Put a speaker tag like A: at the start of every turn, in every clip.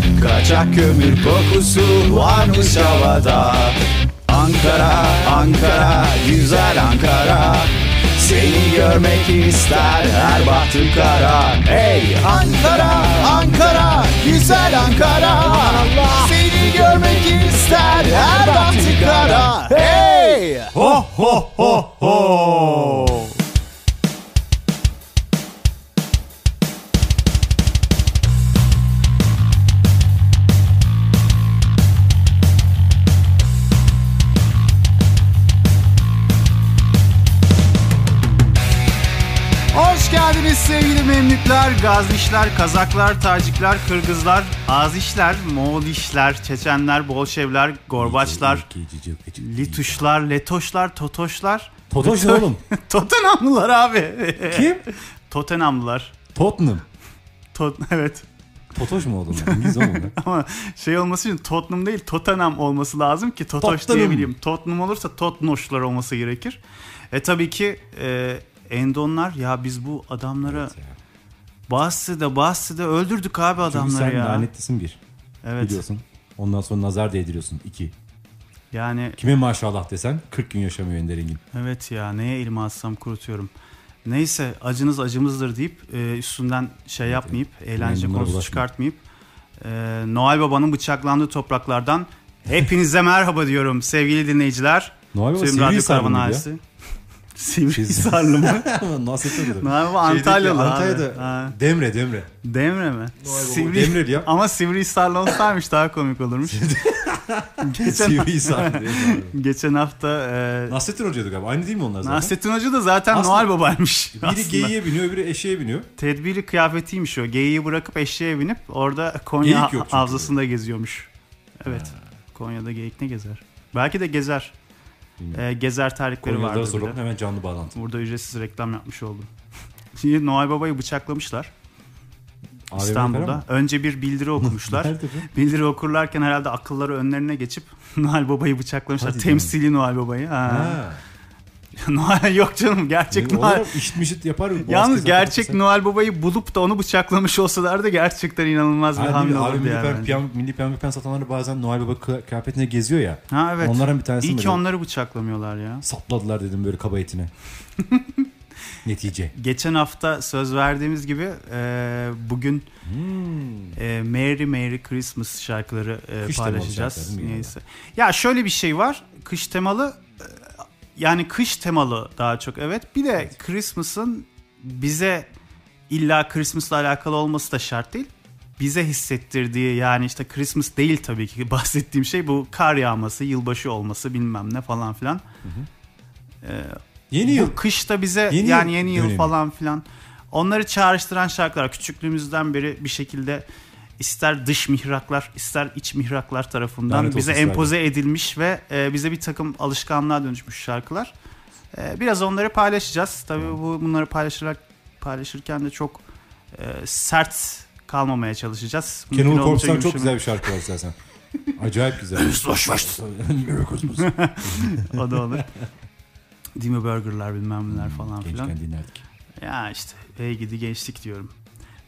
A: Siyah kömür kokusu varmış havada Ankara, Ankara, güzel Ankara Seni görmek ister her bahtım kara Hey Ankara, Ankara, güzel Ankara Seni görmek ister her bahtım kara Hey!
B: Ho ho ho ho.
C: Hoş geldiniz sevgili memlükler, gaznişler, kazaklar, tacikler, kırgızlar, azişler, moğolişler, çeçenler, bolşevler, gorbaçlar, lituşlar, letoşlar, totoşlar.
B: Totoş ne
C: Bütün-
B: oğlum?
C: Tottenhamlılar abi.
B: Kim?
C: Tottenhamlılar.
B: Tottenham.
C: Tot evet.
B: Totoş mu oğlum? İngiliz oğlum.
C: Ama şey olması için Tottenham değil Tottenham olması lazım ki Totoş
B: Tottenham.
C: diyebileyim. Tottenham olursa Totnoşlar olması gerekir. E tabii ki e, Endonlar ya biz bu adamlara Bahsede bahsede öldürdük abi
B: Çünkü
C: adamları
B: sen
C: ya.
B: lanetlisin bir.
C: evet.
B: Biliyorsun. Ondan sonra nazar değdiriyorsun. iki.
C: Yani
B: Kime maşallah desen 40 gün yaşamıyor Ender Engin.
C: evet ya neye elimi atsam kurutuyorum. Neyse acınız acımızdır deyip e, üstünden şey yapmayıp eğlence
B: bunlara
C: konusu
B: bulaşmayın.
C: çıkartmayıp e, Noel Baba'nın bıçaklandığı topraklardan hepinize merhaba diyorum sevgili dinleyiciler.
B: Noel Baba
C: Tüm
B: sivri
C: Radyo
B: sarmı
C: Karavan
B: ya.
C: ailesi. Sivrihisarlı mı?
B: Nasıl tadı?
C: Noel Baba Antalyalı abi.
B: Antalya'da.
C: Ha,
B: Demre Demre.
C: Demre mi? Sivri...
B: Demre ya.
C: Ama Sivrihisarlı olsaymış daha komik olurmuş. Geçen,
B: Sivri sarmı.
C: geçen hafta e,
B: Nasrettin Hoca'ydı galiba. Aynı değil mi onlar zaten?
C: Nasrettin Hoca da zaten
B: Aslında-
C: Noel Baba'ymış.
B: Biri
C: aslında.
B: geyiğe biniyor öbürü eşeğe biniyor.
C: Tedbiri kıyafetiymiş o. Geyiği bırakıp eşeğe binip orada
B: Geyik
C: Konya
B: yok çünkü.
C: havzasında geziyormuş. Evet. Konya'da geyik ne gezer? Belki de gezer.
B: Bilmiyorum.
C: Ee, gezer tarihleri
B: Konyalılara
C: vardı.
B: soralım hemen canlı bağlantı.
C: Burada ücretsiz reklam yapmış oldum. Şimdi Noel Baba'yı bıçaklamışlar
B: AVM falan mı?
C: İstanbul'da. Önce bir bildiri okumuşlar.
B: Nerede bu?
C: bildiri okurlarken herhalde akılları önlerine geçip Noel Baba'yı bıçaklamışlar.
B: Hadi canım.
C: Temsili Noel Baba'yı. Ha.
B: Ha.
C: Noel yok canım gerçek Noel.
B: Olur, işit mişit yapar. boğaz
C: Yalnız
B: keser,
C: gerçek
B: keser.
C: Noel Baba'yı bulup da onu bıçaklamış olsalar da gerçekten inanılmaz bir
B: Abi,
C: hamle
B: abi
C: olurdu
B: Hani milli,
C: yani.
B: piyan, piyan, milli piyango piyan satanlar bazen Noel Baba kı- kıyafetine geziyor ya.
C: Ha evet.
B: Onların bir tanesini
C: İyi ki
B: böyle
C: onları bıçaklamıyorlar ya.
B: sapladılar dedim böyle kaba etine. Netice.
C: Geçen hafta söz verdiğimiz gibi e, bugün
B: Hmm.
C: e, Merry Merry Christmas şarkıları e,
B: Kış temalı
C: paylaşacağız.
B: şarkılar değil mi
C: Neyse. Ya şöyle bir şey var. Kış temalı e, yani kış temalı daha çok evet. Bir de Christmas'ın bize illa Christmas'la alakalı olması da şart değil. Bize hissettirdiği yani işte Christmas değil tabii ki bahsettiğim şey bu kar yağması, yılbaşı olması bilmem ne falan filan.
B: Yeni yıl.
C: Bu kışta bize
B: Yeni
C: yani
B: yıl
C: yeni yıl
B: dönemi.
C: falan filan onları çağrıştıran şarkılar küçüklüğümüzden beri bir şekilde ister dış mihraklar ister iç mihraklar tarafından
B: Lanet olsun
C: bize
B: İsrail.
C: empoze edilmiş ve e, bize bir takım alışkanlığa dönüşmüş şarkılar. E, biraz onları paylaşacağız. Tabii bu bunları paylaşarak paylaşırken de çok e, sert kalmamaya çalışacağız. Mümkün
B: Kenan'ın
C: olduğunca
B: Korps'tan çok
C: yumuşamaya-
B: güzel bir şarkı var zaten. Acayip güzel. Merry Christmas.
C: O da olur. Değil mi burgerlar bilmem
B: Hmm,
C: neler falan filan.
B: Gençken dinlerdik.
C: Ya işte hey gidi gençlik diyorum.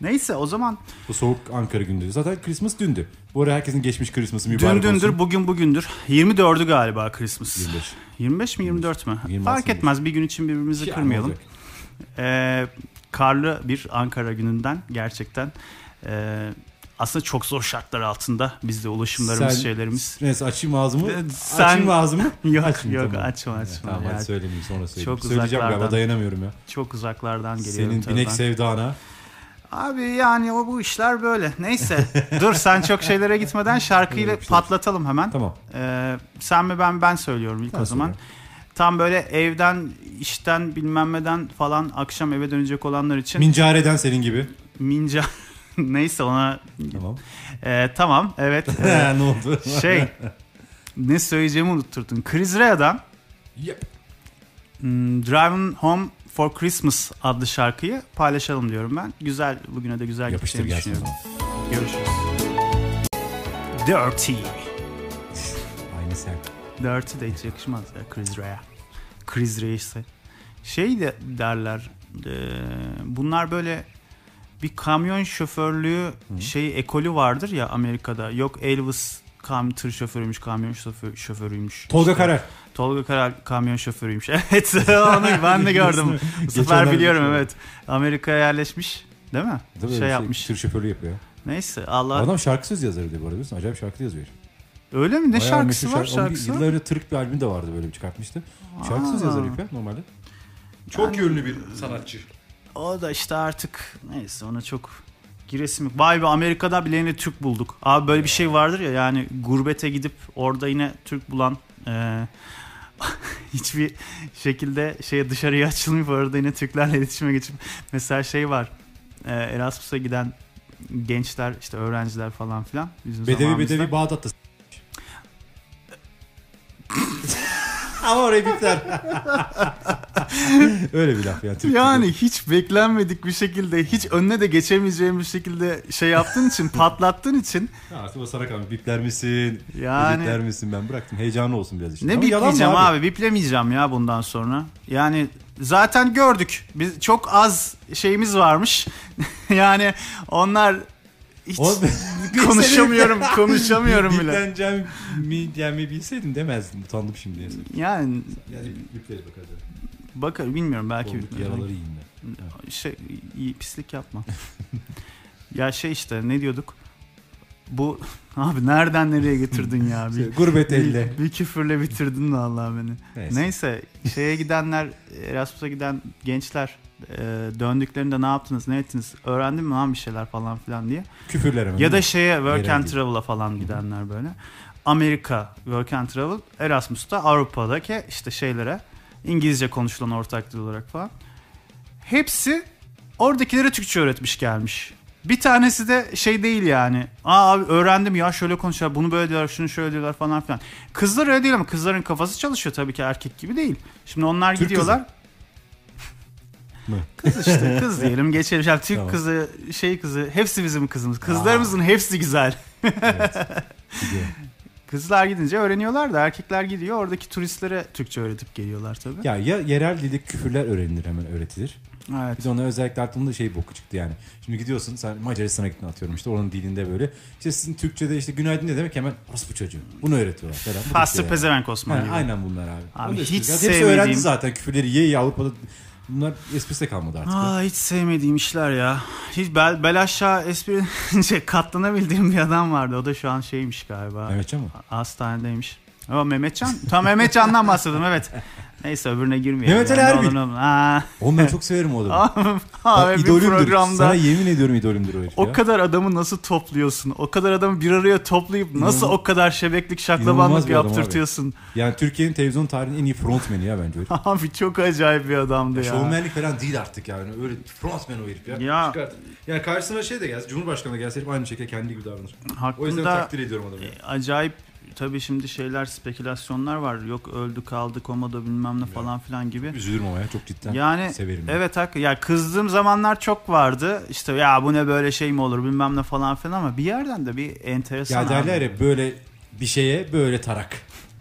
C: Neyse o zaman
B: Bu soğuk Ankara gündü. Zaten Christmas dündü. Bu ara herkesin geçmiş Christmas'ı
C: dün
B: mübarek olsun.
C: dündür bugün bugündür. 24'ü galiba Christmas.
B: 25.
C: 25 mi 24 mü?
B: 26
C: Fark etmez bir gün için birbirimizi
B: Ya, ne
C: kırmayalım.
B: Şey, olacak?
C: Ee, karlı bir Ankara gününden gerçekten ee, aslında çok zor şartlar altında bizde ulaşımlarımız
B: Sen-
C: şeylerimiz.
B: Neyse açayım
C: Ee,
B: ağzımı.
C: sen-
B: Açayım ağzımı.
C: Yok
B: Açmayayım,
C: yok
B: tamam.
C: açma açma.
B: Tamam
C: Ya,
B: hadi söylemeyeyim sonra söyleyeyim.
C: Çok
B: Söyleyeceğim
C: uzaklardan.
B: galiba dayanamıyorum ya.
C: çok uzaklardan geliyorum.
B: Senin
C: tabii
B: binek
C: ben.
B: sevdana.
C: Abi yani o bu işler böyle. Neyse dur sen çok şeylere gitmeden şarkıyla
B: Yapıştır.
C: patlatalım hemen.
B: Tamam.
C: Ee, sen mi ben ben söylüyorum ilk
B: Ben
C: o zaman. Tam böyle evden, işten, bilmem neden falan akşam eve dönecek olanlar için
B: Mincareden senin gibi.
C: minca neyse ona
B: Tamam.
C: Ee, tamam evet. Ee,
B: ne oldu?
C: şey ne söyleyeceğimi unutturdun. Chris Rea'dan
B: Yep.
C: hmm, Driving Home for Christmas adlı şarkıyı paylaşalım diyorum ben. Güzel bugüne de güzel
B: Yapıştır
C: gideceğini
B: gelsin o
C: düşünüyorum.
B: zaman.
C: Görüşürüz. Dirty.
B: Aynı sen.
C: Dirty de hiç yakışmaz ya Chris Rea. Chris Rea işte. Şey de derler. e, bunlar böyle bir kamyon şoförlüğü şey ekolü vardır ya Amerika'da. Yok Elvis kam tır şoförüymüş, kamyon şoför, şoförüymüş.
B: Tolga
C: İşte
B: Karar.
C: Tolga Karar kamyon şoförüymüş. Evet onu ben de gördüm. Bu sefer
B: Geçenlerde şey
C: biliyorum
B: şöyle.
C: evet. Amerika'ya yerleşmiş değil mi?
B: Tabii öyle
C: şey,
B: bir
C: yapmış.
B: Tır şoförlüğü yapıyor.
C: Neyse Allah.
B: Adam şarkı söz yazarı diyor bu arada. biliyorsun. Acayip şarkı yazıyor.
C: Öyle mi? Ne
B: Bayağı
C: şarkısı
B: meşhur
C: var
B: şarkı- Onun bir-
C: şarkısı?
B: Yıllar önce Türk bir albüm de vardı böyle bir çıkartmıştı. Şarkısız
C: Aa.
B: yazar yapıyor normalde.
D: Çok yönlü bir sanatçı.
C: O da işte artık neyse ona çok giresim yok. Vay be Amerika'da bile yine Türk bulduk. Abi böyle bir şey vardır ya yani gurbete gidip orada yine Türk bulan e, hiçbir şekilde şeye dışarıya açılmayıp orada yine Türklerle iletişime geçip mesela şey var e, Erasmus'a giden gençler işte öğrenciler falan filan bizim
B: Bedevi
C: zamanımızda.
B: Bedevi Bağdat'ta s- Ama orayı bipler. Öyle bir laf ya. Türk
C: Yani hiç beklenmedik bir şekilde hiç önüne de geçemeyeceğim bir şekilde şey yaptığın için patlattığın için
B: Ha, Artık o sana kalmış. Bipler misin?
C: yani
B: Editler misin? Ben bıraktım. Heyecanı olsun biraz işte.
C: Ne
B: Ama yalan mı
C: bipleyeceğim abi? Biplemeyeceğim ya bundan sonra. Yani zaten gördük. Biz çok az şeyimiz varmış. yani onlar hiç
B: Oğlum,
C: konuşamıyorum, konuşamıyorum bile.
B: Bipleneceğim mi, yani mi bilseydim demezdim. Utandım şimdi.
C: Yani
B: Yani bipleri bak hadi.
C: bakar bilmiyorum belki
B: Olduk yaraları yiyeyim ben.
C: şey iyi, pislik yapma. ya şey işte ne diyorduk? Bu abi nereden nereye getirdin ya? Bir,
B: Gurbet
C: bir,
B: elle.
C: bir küfürle bitirdin vallahi beni. Neyse şeye gidenler Erasmus'a giden gençler e, döndüklerinde ne yaptınız ne ettiniz öğrendin mi lan bir şeyler falan filan diye.
B: Küfürler hemen.
C: Ya da şeye work
B: Eğlenceli.
C: and travel'a falan gidenler böyle. Amerika work and travel Erasmus'ta Avrupa'daki işte şeylere İngilizce konuşulan ortak dil olarak falan. Hepsi oradakilere Türkçe öğretmiş gelmiş. Bir tanesi de şey değil yani. Aa abi öğrendim ya şöyle konuşuyorlar, bunu böyle diyorlar, şunu şöyle diyorlar falan filan. Kızlar öyle değil ama kızların kafası çalışıyor tabii ki erkek gibi değil. Şimdi onlar
B: Türk
C: gidiyorlar.
B: Mı?
C: Kız işte kız diyelim geçelim. Yani Türk
B: Tamam.
C: kızı, şey kızı hepsi bizim kızımız. Kızlarımızın hepsi güzel.
B: Gidiyor.
C: Kızlar gidince öğreniyorlar da erkekler gidiyor oradaki turistlere Türkçe öğretip geliyorlar tabii.
B: Ya, ya yerel dilde küfürler öğrenilir hemen öğretilir.
C: Evet.
B: Biz ona özellikle aklımda şey boku çıktı yani. Şimdi gidiyorsun sen Macaristan'a gittin atıyorum işte oranın dilinde böyle. İşte sizin Türkçe'de işte günaydın ne demek hemen orası bu çocuğu. Bunu öğretiyorlar falan. Bu da
C: Pastı
B: şey yani.
C: pezevenk Osman
B: Ha,
C: gibi.
B: aynen bunlar abi.
C: Abi
B: Onu da
C: hiç
B: istiyoruz. Hepsi
C: sevmediğim-
B: öğrendi zaten küfürleri ye ye Avrupa'da. Bunlar esprisi de kalmadı artık.
C: Aa, hiç sevmediğim işler ya. Hiç bel, bel aşağı espri şey, katlanabildiğim bir adam vardı. O da şu an şeymiş galiba.
B: Mehmetcan mı?
C: Hastanedeymiş. Ama Mehmetcan. Tam Mehmetcan'dan bahsediyorum evet. Neyse öbürüne girmeyelim.
B: Mehmet Ali
C: Yani
B: Erbil.
C: onun- Aa,
B: Oğlum ben çok severim o adamı.
C: abi
B: Bak,
C: bir
B: idolümdür.
C: programda
B: Sana yemin ediyorum idolümdür o herif
C: o
B: ya.
C: kadar adamı nasıl topluyorsun? O kadar adamı bir araya toplayıp nasıl
B: İnanılmaz-
C: o kadar şebeklik
B: İnanılmaz
C: şaklabanlık
B: bir adam abi.
C: yaptırtıyorsun?
B: Yani Türkiye'nin televizyon tarihinin en iyi frontmeni ya bence o herif.
C: Abi. çok acayip bir adamdı ya.
B: Şovmenlik falan değil artık yani. Öyle frontman o herif ya.
C: Ya.
B: Çıkart. Yani karşısına şey de gelse, Cumhurbaşkanı da gelse herif aynı şekilde kendi gibi davranır. O yüzden
C: Hakkında
B: takdir ediyorum adamı. ya.
C: E- acayip tabii şimdi şeyler spekülasyonlar var. Yok öldü kaldı komada bilmem ne falan filan gibi.
B: Üzülürüm ama ya çok cidden
C: Yani
B: severim. ya.
C: evet hak ya kızdığım zamanlar çok vardı. İşte ya bu ne böyle şey mi olur bilmem ne falan filan ama bir yerden de bir enteresan.
B: Ya derler
C: abi.
B: ya böyle bir şeye böyle tarak.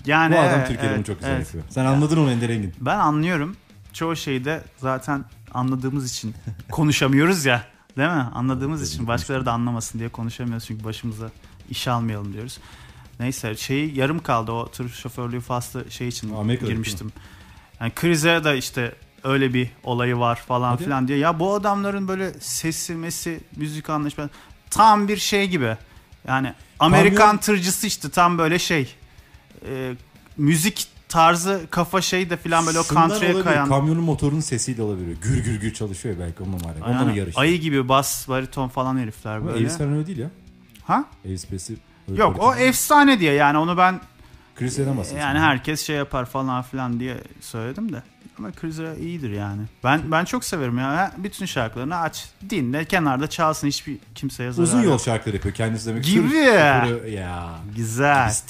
C: Yani
B: Bu adam
C: evet,
B: Türkiye'de
C: evet,
B: bunu çok güzel
C: evet.
B: yapıyor. Sen anladın onu Ender Engin.
C: Ben anlıyorum. Çoğu şeyde zaten anladığımız için konuşamıyoruz ya. Değil mi? Anladığımız için başkaları da anlamasın diye konuşamıyoruz çünkü başımıza iş almayalım diyoruz. Neyse şeyi yarım kaldı o tır şoförlüğü faslı şey için
B: Amerika'da
C: girmiştim. Yani krize de işte öyle bir olayı var falan
B: Hadi.
C: filan diye. Ya bu adamların böyle sesi, mesi, müzik anlaşması tam bir şey gibi. Yani Amerikan
B: Kamyon-
C: tırcısı işte tam böyle şey. Ee, müzik tarzı kafa şey de filan böyle o
B: Şundan
C: country'e
B: olabilir,
C: kayan.
B: Kamyonun motorunun sesiyle olabilir. Gür gür gür çalışıyor ya belki onunla mı alakalı. Onunla mı
C: Yani
B: yarıştı?
C: ayı gibi bas, bariton falan herifler
B: Ama
C: böyle.
B: Elvis Presley öyle değil ya.
C: Ha?
B: Elvis Presley. öyle
C: Yok o
B: böyle-
C: efsane diye yani onu ben
B: Chris Elden bahsediyorsun.
C: yani herkes şey yapar falan filan diye söyledim de. Ama Cruiser iyidir yani. Ben ben çok severim ya. Ha, Bütün şarkılarını aç, dinle, kenarda çalsın hiçbir kimseye zarar.
B: Uzun
C: yok.
B: yol şarkıları yapıyor kendisi demek
C: Gibi.
B: istiyorum. Böyle- Ya.
C: Güzel.
B: Biz-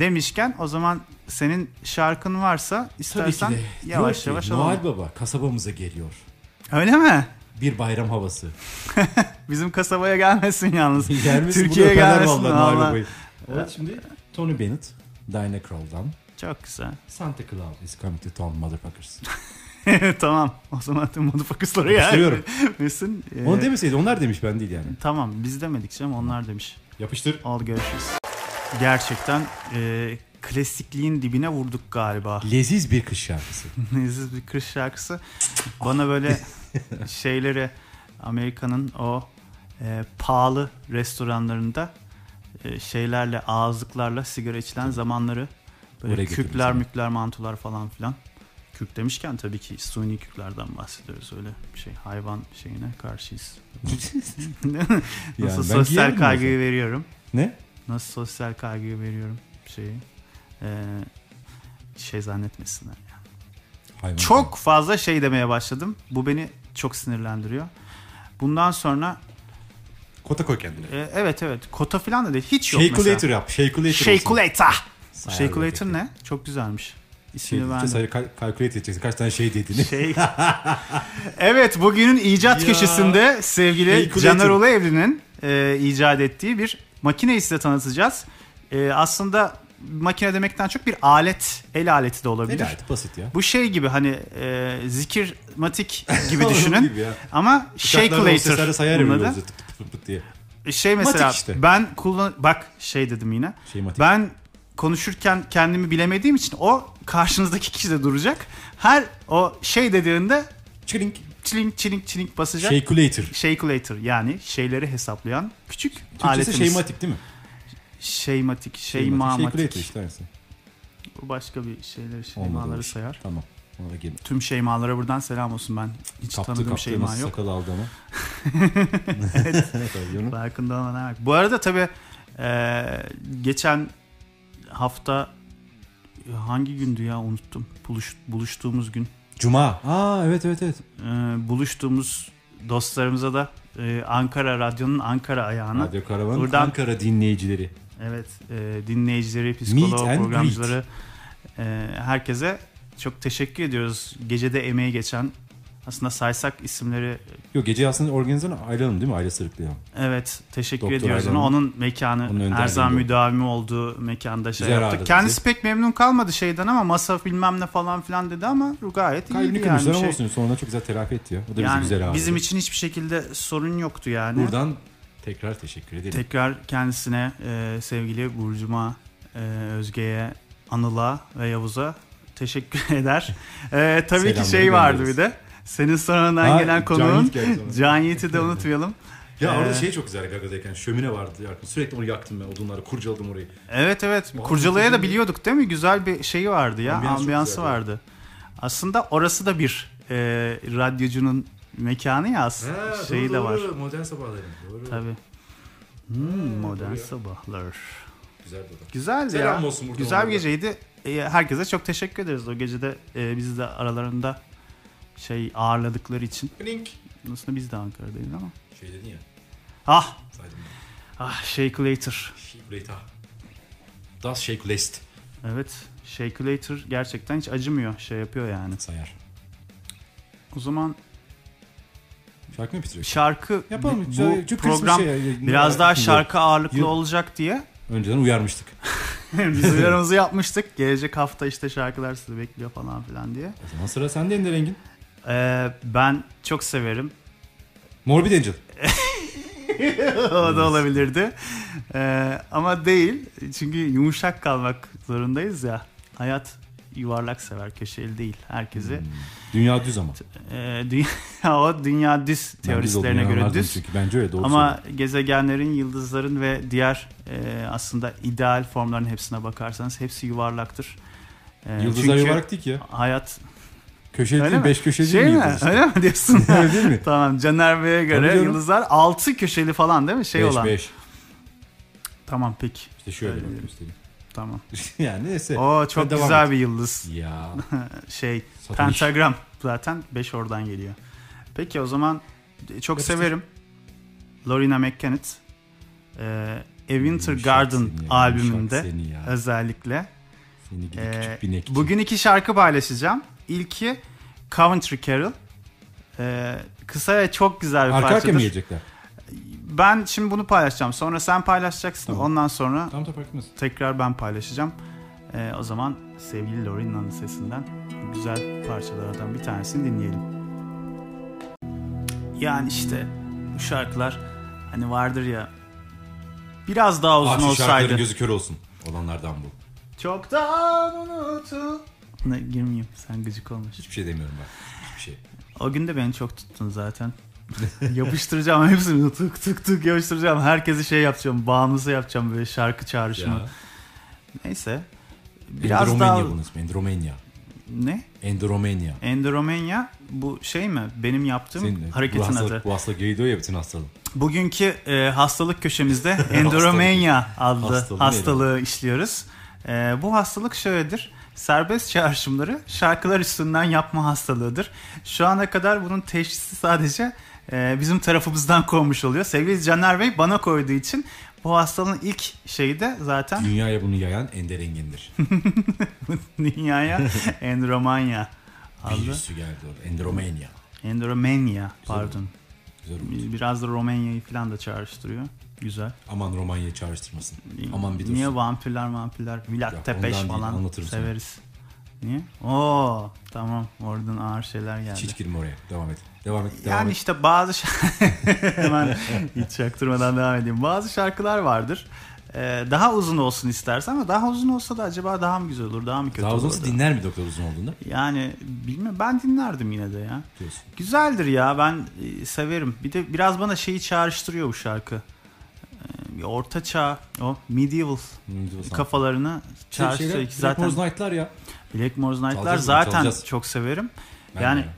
C: Demişken o zaman senin şarkın varsa
B: Tabii ki
C: istersen
B: de. Diyor
C: yavaş
B: ki,
C: yavaş alalım.
B: Noel Baba kasabamıza geliyor.
C: Öyle mi?
B: Bir bayram havası.
C: Bizim kasabaya gelmesin yalnız.
B: Gelmesin
C: Türkiye'ye
B: bunu öperler
C: gelmesin
B: vallahi Noel
C: vallahi.
B: Baba'yı. Evet şimdi Tony Bennett, Diana Krall'dan
C: Çok güzel.
B: Santa Claus is coming to town motherfuckers.
C: tamam. O zaman tüm motherfuckers'ları ya.
B: Yapıştırıyorum.
C: Mesin. e,
B: Onu demeseydi onlar demiş ben değil yani.
C: Tamam biz demedik canım onlar demiş.
B: Yapıştır.
C: Al görüşürüz. Gerçekten e, klasikliğin dibine vurduk galiba.
B: Leziz bir kış şarkısı.
C: Nezih bir kış şarkısı. Bana böyle şeyleri Amerika'nın o e, pahalı restoranlarında e, şeylerle ağızlıklarla sigara içilen zamanları böyle
B: Oraya götürdü
C: kükler
B: seni.
C: mükler mantular falan filan. Kük demişken tabii ki suni küklerden bahsediyoruz öyle bir şey hayvan şeyine karşıyız.
B: Yani
C: Nasıl
B: ben giyerim
C: sosyal
B: mi
C: kaygıyı
B: mesela?
C: veriyorum.
B: Ne?
C: Nasıl sosyal kaygıyı veriyorum şeyi. E, şey zannetmesinler.
B: Hayvan.
C: Çok fazla şey demeye başladım. Bu beni çok sinirlendiriyor. Bundan sonra
D: Kota koy kendine.
C: e, evet evet kota falan da değil. Hiç yok
B: Shakeulator
C: mesela.
B: yap. Shakeulator olsun.
C: Shakeulator.
B: Sayar
C: Shakeulator
B: böyle.
C: ne? Çok güzelmiş.
B: Şey,
C: İsmini
B: işte
C: verdim.
B: sadece kal- calculate edeceksin. Kaç tane şey dediğini.
C: Şey... evet bugünün icat
B: Ya.
C: köşesinde sevgili
B: Shakeulator.
C: Caner Uluevli'nin e, icat ettiği bir makineyi size tanıtacağız. E, aslında makine demekten çok bir alet, el aleti de olabilir.
B: Gayet basit ya.
C: Bu şey gibi hani e, zikir matik gibi
B: Onun
C: düşünün.
B: gibi ya.
C: ama
B: Uçaklarda o
C: Shakeulator
B: sesleri sayar ya
C: Şey bunun adı.
B: böyle olacak, tık tık tık tık diye.
C: Şey mesela
B: Matik işte.
C: ben kullan bak şey dedim yine.
B: Şey matik.
C: Ben konuşurken kendimi bilemediğim için o karşınızdaki kişi de duracak. Her o şey dediğinde
B: Çilink.
C: çilink çilink çilink basacak.
B: Shakeulator.
C: Shakeulator yani şeyleri hesaplayan küçük
B: Türkçesi
C: aletimiz. Şey
B: şeymatik şey değil mi? Şey
C: Şeymatik, şeymamatik.
B: Shakeulator işte aynısı.
C: Bu başka bir şeyleri
B: Olmadı o
C: şeymaları
B: iş.
C: sayar.
B: Tamam. Ona da girme.
C: Tüm şeymalara buradan selam olsun ben. Hiç
B: Kaptı
C: tanıdığım şey
B: kaptı
C: şeyma
B: nasıl
C: yok.
B: sakal aldı ama. Tabii canım.
C: Farkında olmadan bak. Bu arada tabii eee, geçen hafta hangi gündü ya unuttum. Buluş, buluştuğumuz gün.
B: Cuma. Aa evet evet evet.
C: Eee, buluştuğumuz dostlarımıza da eee, Ankara Radyo'nun Ankara ayağına
B: Radyo Karavan.
C: Buradan-
B: Ankara dinleyicileri.
C: evet eee, dinleyicileri,
B: Meet
C: psikoloğu,
B: and
C: programcıları eee, herkese çok teşekkür ediyoruz. Gecede emeği geçen aslında saysak isimleri
B: Yok gece aslında organizasyonu Ayla Hanım değil mi? Ayla Sırıklı'ya.
C: Evet teşekkür
B: Doktor
C: ediyoruz
B: Aydan'ın-
C: ona. Onun mekanı
B: Onun önderliği
C: her zaman
B: bu.
C: müdavimi olduğu mekanda şey
B: Güzel ağırladı
C: yaptık. Kendisi pek memnun kalmadı şeyden ama masa bilmem ne falan filan dedi ama gayet
B: Kalbini
C: iyiydi
B: kırmışlar
C: yani.
B: ama
C: Şey.
B: olsun. Sonunda çok güzel telafi etti ya. O da bizi
C: yani
B: güzel ağırladı.
C: bizim için hiçbir şekilde sorun yoktu yani.
B: Buradan tekrar teşekkür ederim.
C: Tekrar kendisine e, sevgili Burcuma, e, Özge'ye, Anıl'a ve Yavuz'a teşekkür eder. E, tabii
B: Selamları
C: ki şey vardı bir
B: gönderiyoruz.
C: de. Senin sonradan
B: Ha,
C: gelen
B: Can
C: konuğun
B: Yiğit geldi sonra.
C: Can Yiğit'i de unutmayalım.
B: Ya orada
C: Ee,
B: şey çok güzel Gaga'dayken şömine vardı yakın. Sürekli onu yaktım ben odunları kurcaladım orayı.
C: Evet evet.
B: Vay,
C: Kurcalaya da
B: güzel.
C: biliyorduk değil mi? Güzel bir şeyi vardı ya.
B: Ambiyans çok
C: ambiyansı
B: güzeldi.
C: vardı. Aslında orası da bir e, radyocunun mekanı ya aslında. şeyi de var.
B: Modern sabahları. Doğru.
C: Tabii. Hmm, modern
B: doğru ya.
C: sabahlar.
B: Güzel bir
C: Güzeldi
B: Selam
C: ya.
B: olsun buradan
C: Güzel bir
B: onlara.
C: geceydi. E, herkese çok teşekkür ederiz o gecede e, bizi de aralarında şey ağırladıkları için.
B: Blink.
C: Aslında biz de Ankara'dayız ama.
B: Şey dedin ya.
C: Ah,
B: Saydım ben.
C: ah Shakelator.
B: Şibreta. Das Şey Shake List.
C: Evet, Shakelator gerçekten hiç acımıyor. Şey yapıyor yani.
B: Sayar.
C: O zaman
B: Şarkı mı bitiriyor?
C: şarkı
B: Yapalım.
C: bu
B: Şöyle cüp kırısı bir
C: program
B: şey ya.
C: biraz daha
B: Şimdi
C: şarkı ağırlıklı
B: Yıl-
C: olacak diye
B: Önceden uyarmıştık.
C: biz uyarımızı yapmıştık. Gelecek hafta işte şarkılar sizi bekliyor falan filan diye.
B: O zaman sıra sende Ender Engin.
C: Ee, ben çok severim.
B: Morbid Angel.
C: o da olabilirdi. Ee, ama değil. Çünkü yumuşak kalmak zorundayız ya. Hayat yuvarlak sever köşeli değil herkesi.
B: Dünya düz ama.
C: Ee, dünya, o dünya düz
B: Hmm. Ben düz
C: teoristlerine
B: olduğunu
C: göre
B: inanmazdım
C: düz.
B: Çünkü bence öyle doğru
C: Ama
B: söylüyor.
C: gezegenlerin, yıldızların ve diğer e, aslında ideal formların hepsine bakarsanız hepsi yuvarlaktır. E,
B: Yıldızlar
C: çünkü
B: yuvarlak değil ki ya.
C: Hayat
B: Köşeli
C: Öyle
B: değil,
C: mi?
B: beş köşeli
C: şey
B: değil
C: mi?
B: yıldız işte.
C: Öyle mi diyorsun?
B: Öyle değil mi?
C: tamam Caner Bey'e göre
B: Tabii canım.
C: yıldızlar 6 köşeli falan değil mi? Şey
B: beş,
C: olan.
B: beş.
C: Tamam peki.
B: İşte şöyle
C: Öyle
B: bak
C: diyor.
B: göstereyim.
C: Tamam.
B: yani neyse.
C: Oo çok
B: Hadi devam
C: güzel
B: et.
C: bir yıldız.
B: Ya.
C: Şey
B: Satış.
C: pentagram zaten 5 oradan geliyor. Peki o zaman e, çok
B: Yapıştır.
C: severim. Lorena McKennitt. E, A
B: Hmm,
C: Winter
B: Yumuşak
C: Garden
B: seni ya,
C: albümünde
B: yumuşak Seni ya.
C: özellikle
B: Seni gidi
C: Ee,
B: küçük binek. Bugün...
C: bugün iki şarkı paylaşacağım. İlki Coventry Carol. Ee, kısa ve çok güzel bir
B: Arka
C: parçadır.
B: arkaya mı yiyecekler?
C: ben şimdi bunu paylaşacağım. Sonra sen paylaşacaksın.
B: Tamam.
C: Ondan sonra
B: Tam toprak mısın?
C: tekrar ben paylaşacağım. Ee, o zaman sevgili Lorina'nın sesinden bu güzel parçalardan bir tanesini dinleyelim. Yani işte bu şarkılar hani vardır ya biraz daha uzun
B: Abi Ah, şu
C: olsaydı.
B: şarkıların gözü kör olsun olanlardan bu.
C: Çoktan unutu. Ne girmeyeyim sen gıcık olmuş.
B: Hiçbir şey demiyorum ben. Hiçbir şey.
C: O gün de beni çok tuttun zaten. yapıştıracağım hepsini tık tık tık yapıştıracağım. Herkesi şey yapacağım. Bağımlısı yapacağım böyle şarkı çağrışımı.
B: Ya.
C: Neyse. Biraz
B: Endromenya
C: daha
B: bunun ismi. Endromenya.
C: ne?
B: Endromenya.
C: Endromenya bu şey mi? Benim yaptığım
B: Senin
C: hareketin
B: bu hastalık,
C: adı.
B: Bu hastalık yayılıyor ya bütün hastalık.
C: Bugünkü e, hastalık köşemizde Endromenya adlı
B: Hastalığı
C: hastalığı, işliyoruz. E, bu hastalık şöyledir. Serbest çağrışımları şarkılar üstünden yapma hastalığıdır. Şu ana kadar bunun teşhisi sadece e, bizim tarafımızdan konmuş oluyor. Sevgili Caner Bey bana koyduğu için bu hastalığın ilk şeyi de zaten
B: Dünyaya bunu yayan Ender Engin'dir.
C: dünyaya Endromanya adlı.
B: Virüsü geldi orada. Endromenya.
C: Endromenya pardon.
B: Güzel oldu.
C: Biraz da Romanya'yı falan da çağrıştırıyor. Güzel.
B: Aman Romanya'yı çağrıştırmasın. Aman bir dursun.
C: Niye vampirler vampirler?
B: Ya
C: Milat Tepeş
B: ondan değil,
C: falan
B: anlatırım sana.
C: severiz. Niye? Oo tamam oradan ağır şeyler geldi.
B: hiç, hiç girme oraya. Devam et. Devam et. Devam
C: yani
B: et.
C: işte bazı şarkı... Hemen hiç çaktırmadan devam edeyim. Bazı şarkılar vardır. Ee, daha uzun olsun istersen ama daha uzun olsa da acaba daha mı güzel olur daha mı kötü
B: Daha uzun
C: olur?
B: olsa dinler mi doktor uzun olduğunda?
C: Yani bilmiyorum ben dinlerdim yine de ya.
B: Diyorsun.
C: Güzeldir ya ben e, severim. Bir de biraz bana şeyi çağrıştırıyor bu şarkı. Ee, bir Orta çağ, o medieval
B: Kaf
C: kafalarını çağrıştırıyor ki zaten
B: Şey, Black Knight'lar ya.
C: Blackmore's Night'lar
B: Çalacağız mı?
C: zaten
B: Çalacağız.
C: çok severim.
B: Ben
C: yani
B: de.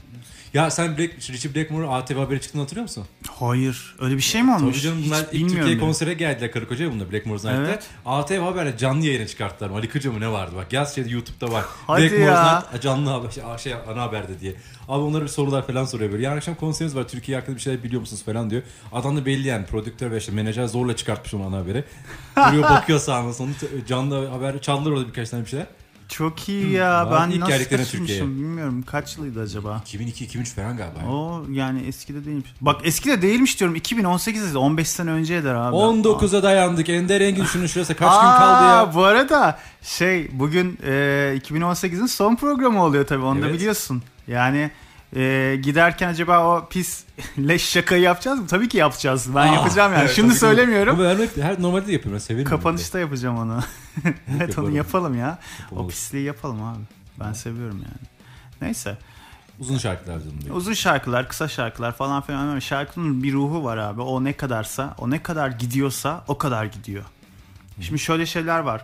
B: Ya sen Black, Richie Blackmore'u ATV haberi çıktığını hatırlıyor musun?
C: hayır öyle bir şey mi
B: Tabii
C: olmuş?
B: canım bunlar
C: Hiç
B: ilk Türkiye
C: bilmiyorum. ya.
B: konsere geldiler karı koca ya bunlar Blackmore's Night'te.
C: Evet.
B: ATV Haber'de canlı yayına çıkarttılar. Ali Kırca mı ne vardı bak yaz şeyde YouTube'da var.
C: Hadi
B: Blackmore's
C: ya.
B: Night canlı haber, şey, şey, ana haberde diye. Abi onlara bir sorular falan soruyor böyle. Yarın akşam konseriniz var Türkiye hakkında bir şeyler biliyor musunuz falan diyor. Adam da belli yani prodüktör ve işte menajer zorla çıkartmış onu ana haberi. Duruyor bakıyor sağına sonra canlı haber çaldılar orada birkaç tane bir şeyler.
C: Çok iyi ya
B: Hmm. Vallahi ilk
C: ben nasıl
B: geldiklerine
C: kaçırmışım
B: Türkiye'ye.
C: bilmiyorum kaç yılıydı acaba?
B: 2002-2003 falan galiba.
C: O yani eskide değilmiş. Bak eskide değilmiş diyorum 2018'de 15 sene önce eder abi.
B: 19'a dayandık. Ender Engin şunu şurası kaç gün
C: Aa,
B: kaldı ya?
C: Bu arada şey bugün e, 2018'in son programı oluyor tabii onu da
B: Evet.
C: biliyorsun. Yani e, giderken acaba o pis leş şakayı yapacağız mı? Tabii ki yapacağız. Ben
B: Aa,
C: yapacağım yani.
B: evet,
C: Şimdi
B: tabii ki.
C: söylemiyorum.
B: Ama ben hep- her normalde de yapıyorum. Ben severim.
C: Kapanışta yapacağım onu. evet
B: Yapalım.
C: onu yapalım ya.
B: Yapalım.
C: O pisliği yapalım abi. Ben seviyorum yani. Neyse.
B: Uzun şarkılar canım diyor.
C: Uzun şarkılar, kısa şarkılar falan filan. ama Şarkının bir ruhu var abi. O ne kadarsa, o ne kadar gidiyorsa o kadar gidiyor. Şimdi şöyle şeyler var.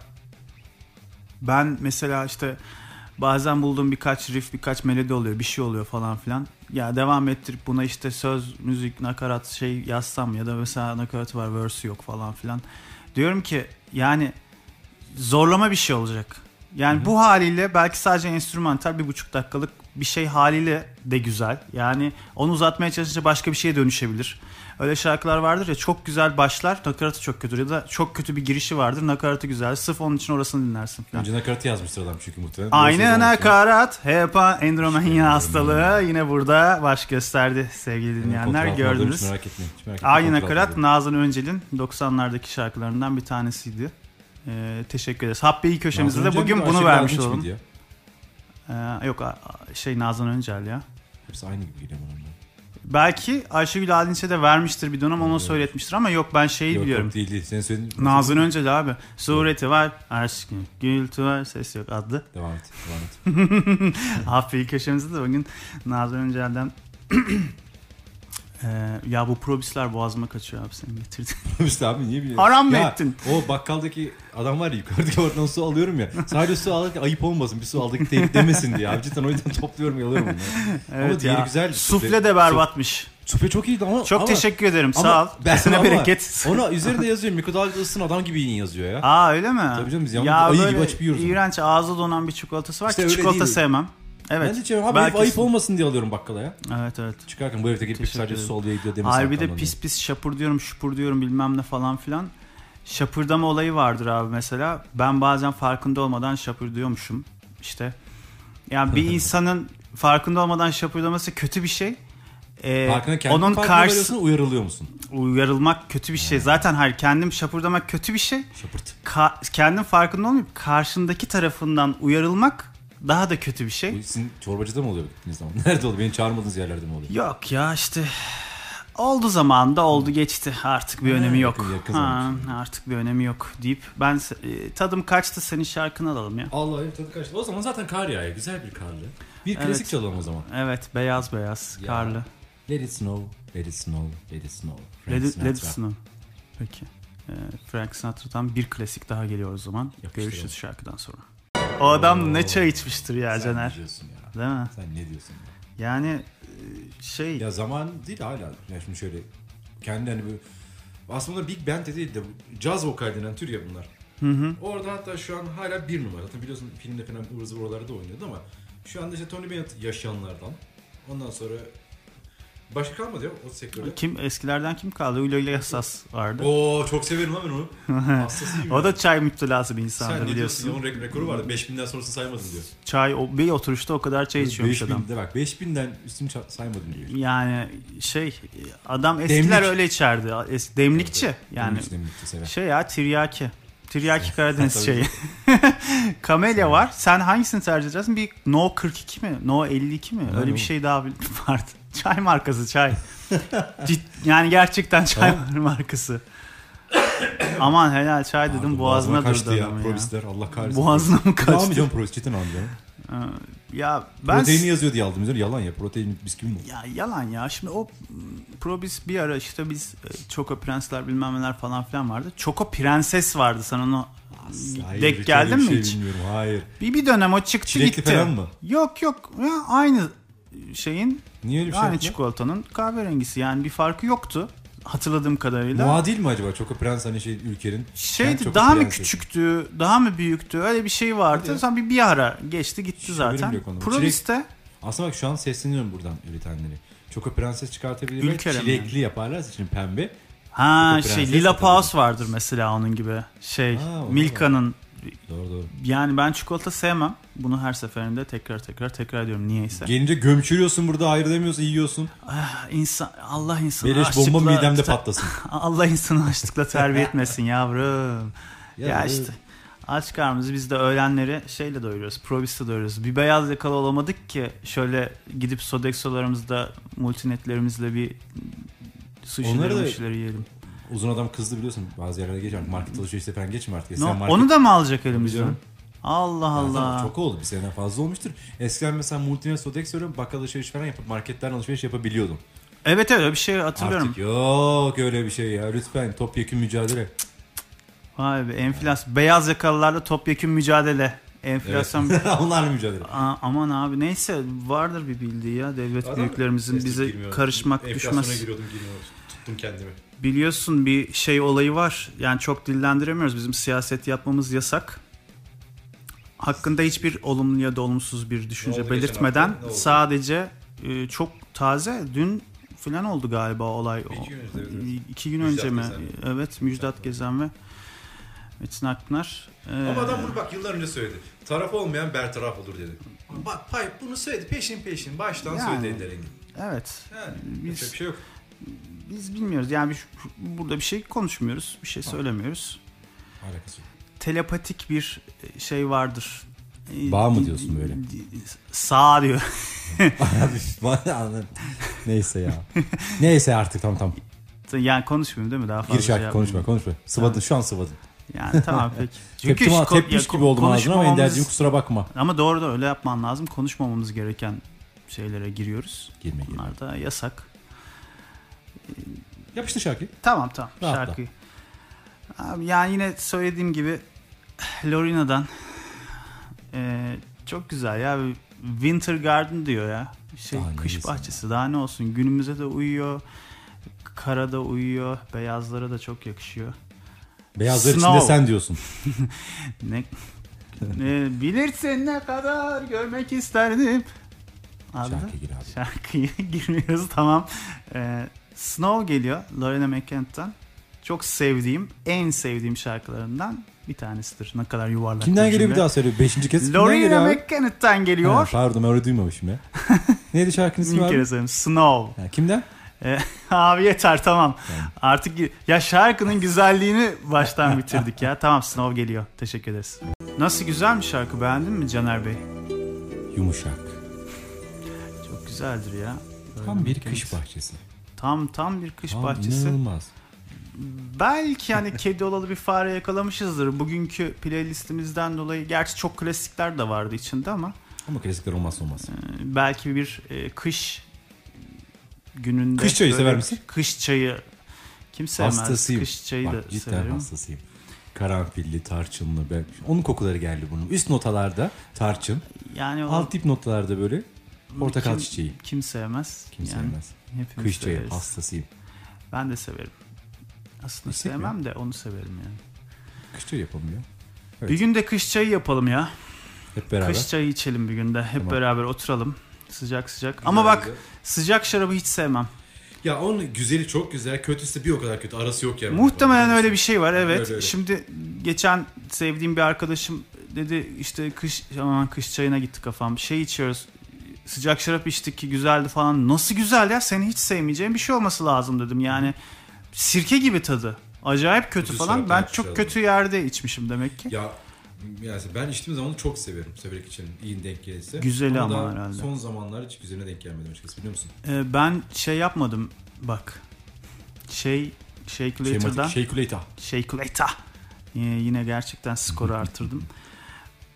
C: Ben mesela işte bazen bulduğum birkaç riff, birkaç melodi oluyor, bir şey oluyor falan filan. Ya devam ettirip buna işte söz, müzik, nakarat şey yazsam ya da mesela nakaratı var, verse yok falan filan. Diyorum ki yani zorlama bir şey olacak. Yani bu haliyle belki sadece enstrümantal bir buçuk dakikalık bir şey haliyle de güzel. Yani onu uzatmaya çalışınca başka bir şeye dönüşebilir. Öyle şarkılar vardır ya çok güzel başlar nakaratı çok kötü ya da çok kötü bir girişi vardır nakaratı güzel sırf onun için orasını dinlersin. Falan.
B: Önce nakaratı yazmıştır adam çünkü muhtemelen.
C: Aynı
B: Dolayısıyla zaten-
C: nakarat hepa
B: Şey,
C: endromanya hastalığı yine burada baş gösterdi sevgili dinleyenler
B: Fotoğraflardan hiç
C: gördünüz.
B: Merak etmeyin. hiç merak etmeyin.
C: Aynı nakarat
B: Fotoğraflardan.
C: Nazan Öncel'in 90'lardaki şarkılarından bir tanesiydi. Ee, teşekkür ederiz. Habbeyi köşemizde
B: Nazan
C: de
B: Hocam
C: bugün
B: da
C: bunu
B: Ayşegül
C: vermiş
B: Ardıç
C: olalım.
B: mıydı ya?
C: Ee, yok a- a- şey Nazan Öncel ya.
B: Hepsi aynı gibi geliyor bana.
C: Belki Ayşegül Adinç'e de vermiştir bir dönem ona söyletmiştir ama yok ben şeyi
B: Yok,
C: biliyorum.
B: yok, Değil değil. Senin söylediğin.
C: Nazan Öncel abi. Sureti var, aşkın, gültü var, ses yok adlı.
B: Devam et. Devam et.
C: Haftayı köşemizde de bugün Nazan Öncel'den Ee, ya bu probisler boğazıma kaçıyor abi sen getirdin.
B: işte abi niye biliyorsun?
C: Haram mı
B: Ya,
C: ettin?
B: O bakkaldaki adam var ya yukarıdaki oradan su alıyorum ya. Sadece su alırken ayıp olmasın. Bir su aldık deyip demesin diye. Abi cidden o yüzden topluyorum alıyorum bunları.
C: Evet
B: diğeri
C: ya.
B: güzel.
C: Sufle de berbatmış.
B: Süpe çok iyiydi ama.
C: Çok
B: ama-
C: teşekkür ederim sağ ol.
B: Ama-
C: Ben, Sana
B: ama
C: bereket.
B: Ona üzerinde yazıyor. Mikrodalga ısın adam gibi yiyin yazıyor ya.
C: Aa öyle mi?
B: Tabii canım, biz yalnız ayı gibi açıp yiyoruz onu.
C: iğrenç ağza donan bir çikolatası var
B: İşte
C: ki
B: öyle
C: çikolata
B: değil.
C: sevmem. Evet.
B: ben de diyorum abi
C: belki-
B: ayıp olmasın diye alıyorum bakkala ya.
C: Evet evet.
B: Çıkarken bu evde girip
C: Teşekkür
B: sadece
C: ederim.
B: su alıyor gidiyor demesin.
C: Harbi de
B: arkamdan
C: pis pis şapur diyorum şupur diyorum bilmem ne falan filan. Şapırdama olayı vardır abi mesela. Ben bazen farkında olmadan şapır diyormuşum. İşte yani bir insanın farkında olmadan şapırdaması kötü bir şey. Ee,
B: Farkına kendin
C: onun
B: Onun
C: karşı
B: uyarılıyor musun?
C: uyarılmak kötü bir şey. Zaten her kendim şapurdamak kötü bir şey.
B: Şapırt.
C: Ka- kendin farkında olmayıp karşındaki tarafından uyarılmak daha da kötü bir
B: Bu
C: şey.
B: sizin çorbacıda mı oluyor gittiğiniz zaman? Nerede oluyor? Beni çağırmadığınız yerlerde mi oluyor?
C: Yok ya işte oldu zamanında oldu geçti artık bir önemi yok.
B: yakın- yakın
C: Ha,
B: zaman.
C: artık bir önemi yok deyip ben se- e, tadım kaçtı senin şarkını alalım ya.
B: Allah elim tadı kaçtı. O zaman zaten kar yağıyor. Güzel bir karlı. Bir klasik
C: Evet.
B: çalalım o zaman.
C: Evet beyaz beyaz
B: Ya.
C: karlı.
B: Let it snow, let it snow, let it snow. Frank
C: Led,
B: Sinatra.
C: Led Snow. Peki. Ee, Frank Sinatra'dan bir klasik daha geliyor o zaman.
B: Yapıştıralım.
C: Görüşürüz şarkıdan sonra. O adam ne çay içmiştir ya
B: Sen şey- ne
C: Caner.
B: diyorsun ya?
C: Değil mi?
B: Sen ne diyorsun ya?
C: Yani e, şey
B: Ya zaman değil hala. Ya şimdi şöyle kendi hani böyle aslında Big Band de değil de bu caz vokal denen tür ya bunlar. Orada hatta şu an hala bir numara. Zaten biliyorsun filmde falan ıvır zıvır oralarda oynuyordu ama şu anda işte Tony Bennett yaşayanlardan. Ondan sonra başka kalmadı ya o sektörde.
C: kim eskilerden kim kaldı? Ulo ile Yasas vardı. O,
B: Oo çok severim lan ben onu. Hastasıyım. ya.
C: da çay müptelası bir
B: sen
C: insandı
B: ne diyorsun? ya?
C: biliyorsun.
B: Onun rek- rekoru vardı. 5000'den sonrasını saymadım diyor.
C: Çay o, bir oturuşta o kadar çay Şey içiyormuş adam.
B: 5000'de bak 5000'den üstünü ça- saymadım diyor.
C: Yani şey adam eskiler
B: Demlik.
C: öyle içerdi. Es- demlikçi yani.
B: Demlikçi, demlikçi sever.
C: Şey ya tiryaki. Tiryaki Karadeniz
B: Tabii.
C: şeyi. Kamelya var. Sen hangisini tercih edersin? Bir No 42 mi? No 52 mi? Öyle bir
B: bu-
C: şey daha bir- vardı. Çay markası çay. Cid- yani gerçekten çay markası. Aman helal çay dedim
B: Pardon,
C: boğazına,
B: kaçtı
C: durdu adamın
B: ya.
C: ya.
B: Provisler Allah kahretsin.
C: Boğazına mı
B: Ne
C: kaçtı?
B: yapacağım provis? Cidden almayacağım.
C: Ya ben
B: Proteini yazıyor diye aldım. Üzeri yalan ya. Protein bisküvi mi?
C: Ya yalan ya. Şimdi o mm, Probis bir ara işte biz e, Çoko Prensler bilmem neler falan filan vardı. Çoko Prenses vardı sen onu
B: öyle
C: denk geldin
B: bir
C: mi
B: şey
C: hiç?
B: Bilmiyorum. Hayır.
C: Bir bir dönem o çıktı
B: Çilekli
C: gitti.
B: falan mı?
C: Yok yok. Ya aynı şeyin
B: Niye öyle bir şey
C: aynı
B: yaptılar?
C: çikolatanın kahverengisi yani bir farkı yoktu hatırladığım kadarıyla.
B: Muadil mi acaba? Çoko Prens hani şey ülkenin.
C: Şeydi
B: Kent Çoko
C: daha mı
B: Prensi.
C: küçüktü, daha mı büyüktü? Öyle bir şey vardı.
B: Hadi.
C: Sonra bir bir ara geçti gitti
B: haberim
C: zaten.
B: yok onun.
C: Probis'te
B: Aslında bak şu an sesleniyorum buradan üretenleri. Çoko Prenses çıkartabilirler.
C: Ülkerem
B: Çilekli yaparlarsa şimdi pembe.
C: ha
B: Çoko
C: şey
B: Prenses
C: Lila
B: de
C: Paus vardır mesela onun gibi. Şey
B: Ha, o da
C: Milka'nın
B: Doğru doğru.
C: Yani ben çikolata sevmem. Bunu her seferinde tekrar tekrar tekrar ediyorum niyeyse.
B: Gelince gömçürüyorsun burada hayır demiyorsun yiyorsun.
C: Ah, insan Allah insanı
B: Beleş
C: açlıkla
B: bomba midemde
C: te-
B: patlasın.
C: Allah insanı açlıkla terbiye etmesin yavrum. Ya,
B: Ya,
C: işte aç karnımızı biz de öğlenleri şeyle doyuruyoruz. Probis'te doyuruyoruz. Bir beyaz yakalı olamadık ki şöyle gidip Sodexo'larımızda multinetlerimizle bir
B: Onları
C: sushi'leri
B: da-
C: bir şeyler yiyelim.
B: Uzun adam kızdı biliyorsun. Bazı yerlere geçer. Market alışverişte falan geçme artık.
C: Ne-
B: E Sen market
C: onu da mı alacak elimizden?
B: Biliyorum.
C: Allah
B: Allah.
C: Allah.
B: Çok oldu bir sene fazla olmuştur. Eskiden mesela multinasyonel Sodexo'da bakkal alışveriş falan yapıp marketlerden alışveriş yapabiliyordum.
C: Evet evet öyle bir şey hatırlıyorum.
B: Artık yok öyle bir şey ya. Lütfen topyekun mücadele.
C: Vay be enflas beyaz yakalılarla topyekün mücadele. Enflasyon
B: Onlarla mücadele.
C: Aa, aman abi neyse vardır bir bildiği ya devlet büyüklerimizin
D: Neyse,
C: bize
D: girmiyorum.
C: karışmak
D: Enflasyona
C: düşmez.
D: giriyordum girmiyorum. Tuttum kendimi.
C: Biliyorsun bir şey olayı var. Yani çok dillendiremiyoruz. Bizim siyaset yapmamız yasak. Hakkında hiçbir olumlu ya da olumsuz bir
D: Ne
C: düşünce
D: oldu geçen
C: belirtmeden
D: hafta? Ne oldu?
C: sadece e, çok taze dün filan oldu galiba olay.
D: Bir iki gün önce, evet,
C: İki gün
D: Müjdat
C: önce mi?
D: Gezen mi?
C: Evet Müjdat Gezen ve Metin Akpınar. Ee,
D: Ama adam bunu bak yıllar önce söyledi. Taraf olmayan bertaraf olur dedi. Bak pay bunu söyledi peşin peşin baştan
C: Yani.
D: söyledi Ender Engin.
C: Evet.
D: Yani
C: Biz-
D: yapacak bir şey yok.
C: Biz bilmiyoruz. Yani biz burada bir şey konuşmuyoruz. Bir şey söylemiyoruz.
B: Alakası yok.
C: Telepatik bir şey vardır.
B: Bağ mı diyorsun böyle?
C: Sağ diyor.
B: Bana anladım. Neyse ya. Neyse artık tamam tamam.
C: Yani konuşmuyorum değil mi? Daha fazla
B: Gir
C: şey
B: şarkı konuşma
C: yapmayayım.
B: konuşma. Sıvadın şu an sıvadın.
C: Yani tamam peki.
B: Tepkim,
C: işte ko-
B: tepmiş
C: ya
B: gibi oldum ağzına ama
C: konuşmamamız-
B: Ender'cim kusura bakma.
C: Ama doğru da öyle yapman lazım. Konuşmamamız gereken şeylere giriyoruz.
B: Girme girme.
C: Bunlar da yasak.
B: Yapıştı şarkı.
C: Tamam tamam
B: Rahatla.
C: şarkıyı. Abi, yani yine söylediğim gibi Lorina'dan Ee, çok güzel ya Winter Garden diyor ya. Şey
B: Daha ne
C: kış
B: desin
C: bahçesi daha ne olsun günümüze de uyuyor. Karada uyuyor. Beyazlara da çok yakışıyor.
B: Beyazlar
C: Snow.
B: içinde sen diyorsun.
C: Ne, ne bilirsin ne kadar görmek isterdim. Abi de-
B: Şarkı gir abi.
C: şarkıyı girmiyoruz tamam. Ee, Snow geliyor Lorena McKent'ten. Çok sevdiğim, en sevdiğim şarkılarından bir tanesidir. Ne kadar yuvarlak.
B: Kimden
C: bir
B: geliyor bir
C: cümle.
B: daha söyle. Beşinci kez kimden geliyor
C: Lorena
B: abi?
C: McKennett'ten
B: Ha,
C: geliyor.
B: pardon öyle duymamışım ya. Neydi şarkının ismi
C: Bir
B: abi?
C: kere söyleyeyim. Snow.
B: Ha, kimden?
C: E, abi yeter tamam. Artık gi- ya şarkının güzelliğini baştan bitirdik ya. Tamam sınav geliyor. Teşekkür ederiz. Nasıl güzel bir şarkı beğendin mi Caner Bey?
B: Yumuşak.
C: Çok güzeldir ya.
B: Tam bir kış bahçesi.
C: Tam tam bir kış
B: Tam
C: bahçesi.
B: İnanılmaz.
C: Belki hani kedi olalı bir fare yakalamışızdır. Bugünkü playlistimizden dolayı gerçi çok klasikler de vardı içinde ama
B: Ama klasikler olmazsa olmaz.
C: e, belki bir e, kış gününde
B: Kış çayı
C: böyle
B: sever misin?
C: Kış çayı kim sevmez?
B: Hastasıyım.
C: Kış çayı
B: Bak,
C: da
B: cidden
C: severim.
B: hastasıyım. Karanfilli, tarçınlı. Ben... Onun kokuları geldi bunun. Üst notalarda tarçın.
C: Yani o-
B: Alt dip notalarda böyle portakal
C: Kim-
B: çiçeği.
C: Kim sevmez?
B: Kim
C: Yani
B: sevmez.
C: hepimiz
B: Kış çayı
C: severiz.
B: hastasıyım.
C: Ben de severim. Aslında
B: Eksik mi?
C: sevmem de onu severim yani.
B: Kış çayı yapalım ya. Evet.
C: Bir gün de kış çayı yapalım ya.
B: Hep beraber.
C: Kış çayı içelim bir günde. Hep
B: Tamam.
C: beraber oturalım. Sıcak sıcak. Ama bak sıcak şarabı hiç sevmem.
D: Ya onun güzeli çok güzel, kötüsü bir o kadar kötü. Arası yok yani.
C: Muhtemelen öyle bir şey var evet.
D: Öyle, öyle.
C: Şimdi geçen sevdiğim bir arkadaşım dedi işte kış aman kış çayına gitti kafam. Şey içiyoruz. Sıcak şarap içtik ki güzeldi falan. Nasıl güzel ya? Seni hiç sevmeyeceğim bir şey olması lazım dedim. Yani sirke gibi tadı. Acayip kötü
D: Kötü
C: falan.
D: şarap
C: Ben
D: yapmış
C: çok
D: adam.
C: kötü yerde içmişim demek ki.
D: Ya yani ben içtiğim zaman çok severim. Severek için iyi denk gelirse.
C: Güzeli ama
D: daha
C: herhalde.
D: Son zamanlar hiç güzeline denk gelmedim açıkçası biliyor musun?
C: Ee, ben şey yapmadım bak. Şey Shakulator'dan
B: Şematik Shakeulator.
C: Shakulator. şey Ee, yine gerçekten skoru artırdım.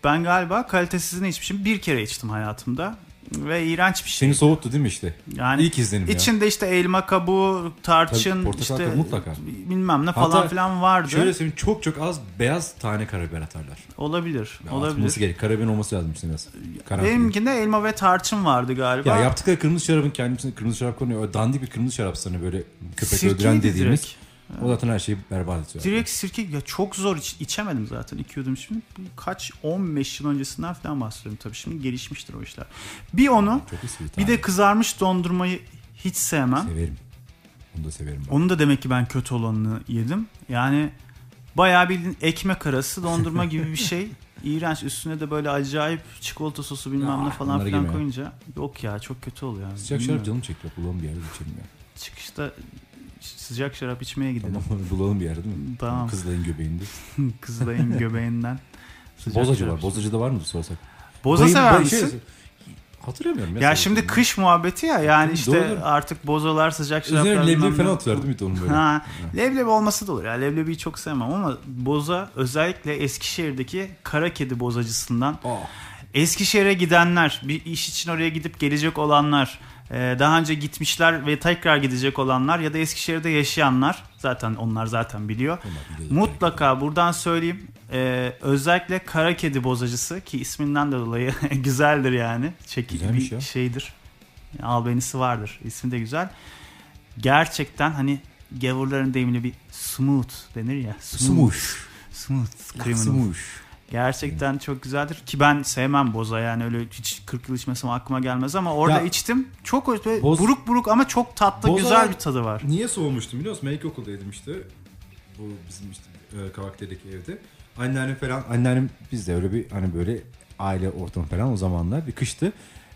C: Ben galiba kalitesizini içmişim. Bir kere içtim hayatımda. Ve iğrenç bir şey.
B: Seni soğuttu değil mi işte?
C: Yani
B: İlk izlenim ya.
C: içinde işte elma kabuğu, tarçın,
B: Tabii, portakal
C: işte
B: kabuğu mutlaka.
C: bilmem ne falan
B: Hatta
C: filan vardı.
B: Şöyle söyleyeyim çok çok az beyaz tane karabiber atarlar.
C: Olabilir.
B: Ya Atılması
C: olabilir.
B: gerek. Karabiberin olması lazım işte biraz. Karanfil.
C: Benimkinde elma ve tarçın vardı galiba.
B: Ya yaptıkları kırmızı şarabın kendisine kırmızı şarap konuyor. O dandik bir kırmızı şarap sana böyle köpek
C: Sirkeydi
B: öldüren dediğimiz.
C: direkt.
B: O zaten her şeyi berbat ediyor.
C: Direkt sirke ya çok zor iç- içemedim zaten ikiyordum şimdi. Bu Kaç 15 yıl öncesinden falan bahsediyorum tabii şimdi gelişmiştir o işler. Bir onu
B: Çok iyi sweet
C: bir
B: abi.
C: de kızarmış dondurmayı hiç sevmem.
B: Severim. Onu da severim. Ben.
C: Onu da demek ki ben kötü olanını yedim. Yani bayağı bildiğin ekmek arası dondurma gibi bir şey. İğrenç üstüne de böyle acayip çikolata sosu bilmem ne
B: Ah,
C: falan
B: bunları
C: filan
B: yeme.
C: koyunca yok ya çok kötü oluyor. yani.
B: Sıcak
C: Bilmiyorum.
B: şarap canım çekiyor. Bulalım bir yerde içelim ya.
C: Çıkışta sıcak şarap içmeye gidelim.
B: Tamam bulalım bir yerde değil mi?
C: Tamam.
B: Kızılay'ın göbeğinde.
C: Kızılay'ın göbeğinden. sıcak
B: Bozacı
C: şarap
B: var. Bozacı da var mı sorsak?
C: Boza
B: Bayım-
C: sever
B: bay-
C: misin?
B: şey- hatırlamıyorum ya.
C: ya şimdi kış muhabbeti ya yani
B: Doğru,
C: işte
B: doğru.
C: artık bozolar sıcak şaraplar.
B: Üzerine
C: bilmem
B: leblebi
C: ne.
B: falan atıyorlar değil mi onun böyle?
C: Ha, leblebi olması da olur. Ya leblebiyi çok sevmem ama boza özellikle Eskişehir'deki kara kedi bozacısından
B: Ah.
C: Eskişehir'e gidenler, bir iş için oraya gidip gelecek olanlar, e, daha önce gitmişler ve tekrar gidecek olanlar ya da Eskişehir'de yaşayanlar zaten onlar zaten biliyor.
B: biliyorlar.
C: Mutlaka buradan söyleyeyim. e, özellikle kara kedi bozacısı ki isminden de dolayı güzeldir yani. Çekici
B: Güzelmiş
C: bir
B: ya.
C: şeydir. Albenisi vardır. İsmi de güzel. Gerçekten hani gavurların deyimli bir smooth denir ya.
B: Sumuş. Ah,
C: Smooth. Criminal.
B: Sumuş.
C: Gerçekten çok güzeldir ki ben sevmem boza yani öyle hiç 40 yıl içmesem aklıma gelmez ama orada
B: Ya-
C: içtim. Çok hoş böyle
B: Boz-
C: buruk buruk ama çok tatlı
D: Boza-
C: güzel bir tadı var.
D: Niye soğumuştum biliyor musun? Ben ilkokuldaydım işte. Bu bizim işte e, Kavaktepe'deki evde. Anneannem falan
B: Anneannem bizde öyle bir hani böyle aile ortamı falan o zamanlar bir kıştı.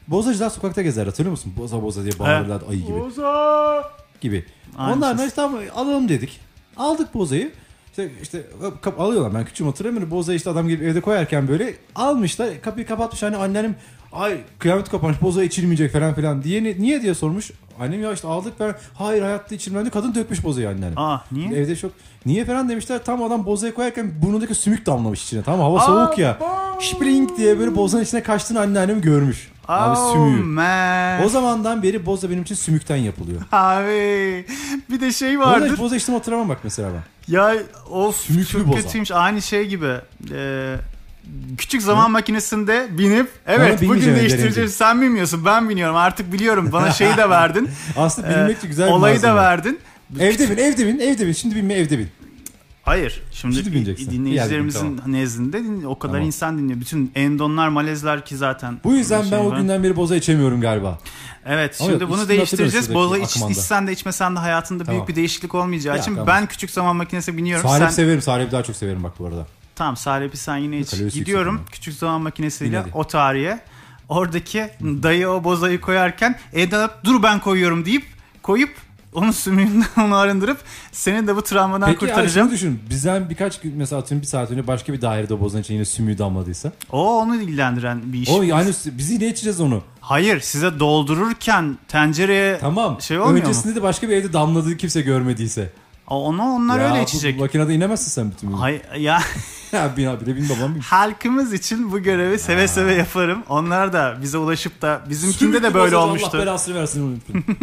B: Bozacılar sokakta gezer hatırlıyor musun? Boza boza diye bağırırlardı ayı gibi.
C: Boza!
B: gibi.
C: Aynı
B: Onlar
C: ses.
B: da işte tamam alalım dedik. Aldık bozayı. İşte, işte kap- alıyorlar ben küçüğüm hatırlamıyorum. Bozayı işte adam gelip evde koyarken böyle almışlar kapıyı kapatmış hani annem ay kıyamet koparmış boza içilmeyecek falan filan diye "Ni- niye diye sormuş. Annem ya işte aldık ben hayır hayatta içilmedi kadın dökmüş bozayı anneannem.
C: Aa niye?
B: Evde çok niye falan demişler tam adam bozaya koyarken burnundaki sümük damlamış içine tamam mı? hava soğuk ya. Şipling diye böyle bozanın içine kaçtığını anneannem görmüş. Abi
C: Oh,
B: sümüğü.
C: man.
B: O zamandan beri boza benim için sümükten yapılıyor.
C: Abi bir de şey
B: Vardır.
C: vardır.
B: Boza, boza içtim hatırlamam bak mesela ben.
C: Ya of
B: Sümüklü
C: çok
B: boza.
C: kötüymüş. Aynı şey gibi. Ee, küçük zaman makinesinde binip evet bugün
B: bilmeyeceğim
C: değiştireceğim.
B: denedim.
C: Sen bilmiyorsun ben biniyorum artık biliyorum. Bana şeyi de verdin.
B: Aslında
C: Ee,
B: bilmek için güzel bir
C: olayı da
B: malzeme.
C: verdin.
B: Evde bin, evde bin, evde bin. Şimdi binme evde bin.
C: Hayır. Şimdi,
B: Şimdi bileceksin.
C: dinleyicilerimizin
B: Yani,
C: nezdinde din- o kadar
B: Tamam.
C: insan dinliyor. Bütün Endonlar, Malezler ki zaten.
B: Bu yüzden ben
C: şey
B: o
C: var.
B: günden beri boza içemiyorum galiba.
C: Evet
B: Ama
C: şimdi
B: yok,
C: bunu
B: üstünü
C: değiştireceğiz.
B: hatırlıyorum
C: Boza iç,
B: şuradaki Akman'da.
C: içsen de içmesen de hayatında büyük
B: Tamam.
C: bir değişiklik olmayacağı
B: Ya,
C: için
B: tamam.
C: ben küçük zaman makinesi biniyorum.
B: Salep
C: sen,
B: severim. Salep'i daha çok severim bak bu arada.
C: Tamam Salep'i sen yine iç.
B: Kalorisi
C: Gidiyorum
B: yüksek
C: küçük zaman makinesiyle
B: Yine de.
C: o tarihe. Oradaki dayı o bozayı koyarken Eda dur ben koyuyorum deyip koyup onun sümüğünden onu arındırıp seni de bu travmadan
B: Peki yani
C: kurtaracağım.
B: şunu düşün. Bizden birkaç gün mesela atıyorum bir saat önce başka bir dairede bozan için yine sümüğü damladıysa.
C: O onu ilgilendiren bir iş.
B: O yani biz yine içeceğiz onu.
C: Hayır size doldururken tencereye
B: Tamam.
C: şey olmuyor mu?
B: Öncesinde de başka bir evde damladığı kimse görmediyse.
C: O- Onu onlar
B: ya
C: öyle
B: bu
C: içecek.
B: makinede inemezsin sen bütün gün.
C: Hayır ya
B: Ya bina bile bin babam bin.
C: halkımız için bu görevi seve seve yaparım. Onlar da bize ulaşıp da bizimkinde de
B: Sürekli
C: böyle
B: bozadı,
C: olmuştu.
B: Allah belasını versin onu lütfen.